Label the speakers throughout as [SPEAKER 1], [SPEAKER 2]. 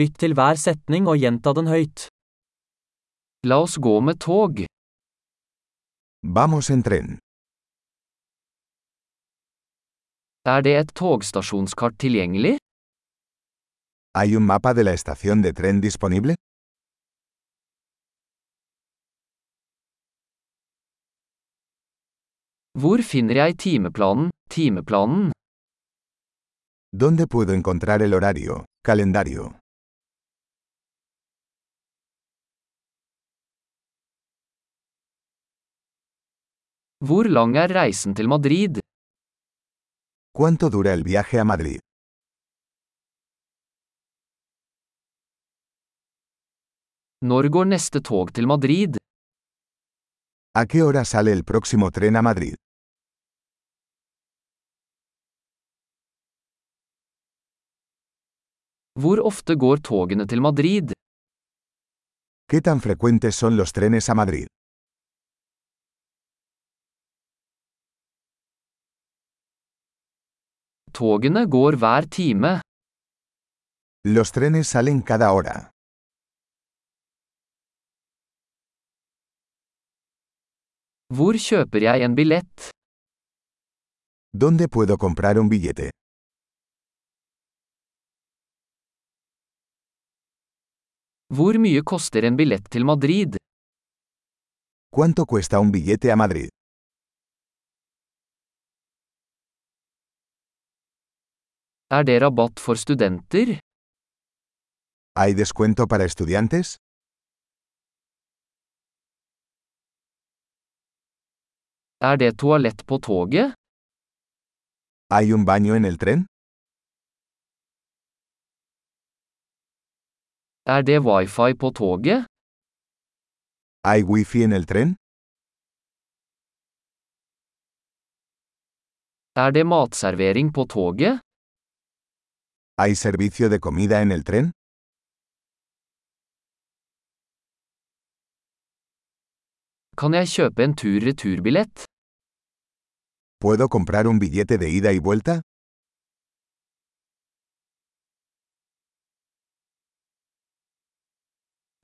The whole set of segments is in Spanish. [SPEAKER 1] Lytt til hver setning og gjenta den høyt. La oss gå med tog.
[SPEAKER 2] Vamos en tren.
[SPEAKER 1] Er det et togstasjonskart tilgjengelig?
[SPEAKER 2] ¿Hay un mapa de la estación de tren disponible?
[SPEAKER 1] Hvor finner jeg timeplanen, timeplanen?
[SPEAKER 2] ¿Dónde puedo encontrar el horario, calendario?
[SPEAKER 1] Hvor lang er reisen til Madrid?
[SPEAKER 2] ¿Cuánto dura el viaje a Madrid?
[SPEAKER 1] Når går neste tog til Madrid?
[SPEAKER 2] ¿A qué hora sale el próximo tren a Madrid?
[SPEAKER 1] Hvor ofte går togene til Madrid?
[SPEAKER 2] ¿Qué tan frecuentes son los trenes a Madrid?
[SPEAKER 1] Togene går hver time.
[SPEAKER 2] Los trenes salen cada hora.
[SPEAKER 1] Hvor kjøper jeg en billett?
[SPEAKER 2] ¿Dónde puedo comprar un billete?
[SPEAKER 1] Hvor mye koster en billett til Madrid?
[SPEAKER 2] ¿Cuánto cuesta un billete a Madrid?
[SPEAKER 1] Er det rabatt for studenter?
[SPEAKER 2] ¿Hay descuento para estudiantes?
[SPEAKER 1] Er det toalett på toget?
[SPEAKER 2] ¿Hay un baño en el tren?
[SPEAKER 1] Er det wifi på toget?
[SPEAKER 2] ¿Hay wifi en el tren?
[SPEAKER 1] Er det matservering på toget?
[SPEAKER 2] ¿Hay servicio de comida en el tren?
[SPEAKER 1] Kan jeg kjøpe en tur-returbillett?
[SPEAKER 2] ¿Puedo comprar un billete de ida y vuelta?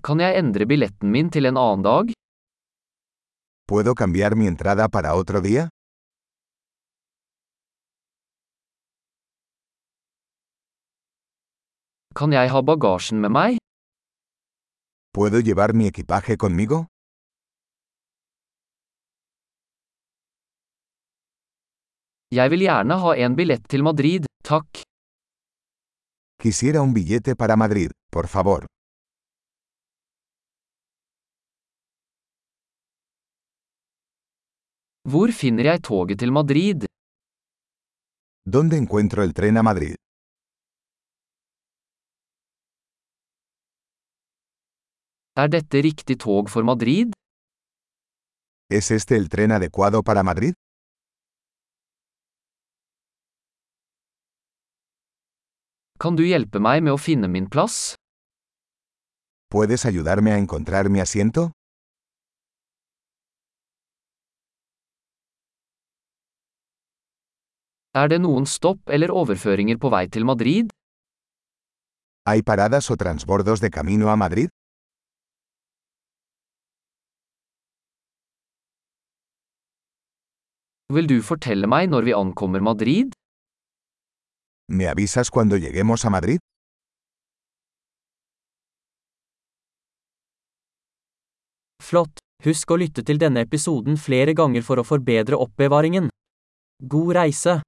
[SPEAKER 1] Kan jeg endre billetten min til en annen dag?
[SPEAKER 2] ¿Puedo cambiar mi entrada para otro día?
[SPEAKER 1] Kan jeg ha bagasjen med meg?
[SPEAKER 2] ¿Puedo llevar mi equipaje conmigo?
[SPEAKER 1] Jeg vil gjerne ha en billett til Madrid, takk.
[SPEAKER 2] Quisiera un billete para Madrid, por favor.
[SPEAKER 1] Hvor finner jeg toget til Madrid?
[SPEAKER 2] ¿Dónde encuentro el tren a Madrid?
[SPEAKER 1] Er dette riktig tog for Madrid?
[SPEAKER 2] ¿Es este el tren adecuado para Madrid?
[SPEAKER 1] Kan du hjelpe meg med å finne min plass?
[SPEAKER 2] ¿Puedes ayudarme a encontrar mi asiento?
[SPEAKER 1] Er det noen stopp eller overføringer på vei til Madrid?
[SPEAKER 2] ¿Hay paradas o transbordos de camino a Madrid?
[SPEAKER 1] Vil du fortelle meg når vi ankommer Madrid?
[SPEAKER 2] ¿Me avisas cuando lleguemos a Madrid?
[SPEAKER 1] Flott! Husk å lytte til denne episoden flere ganger for å forbedre oppbevaringen. God reise!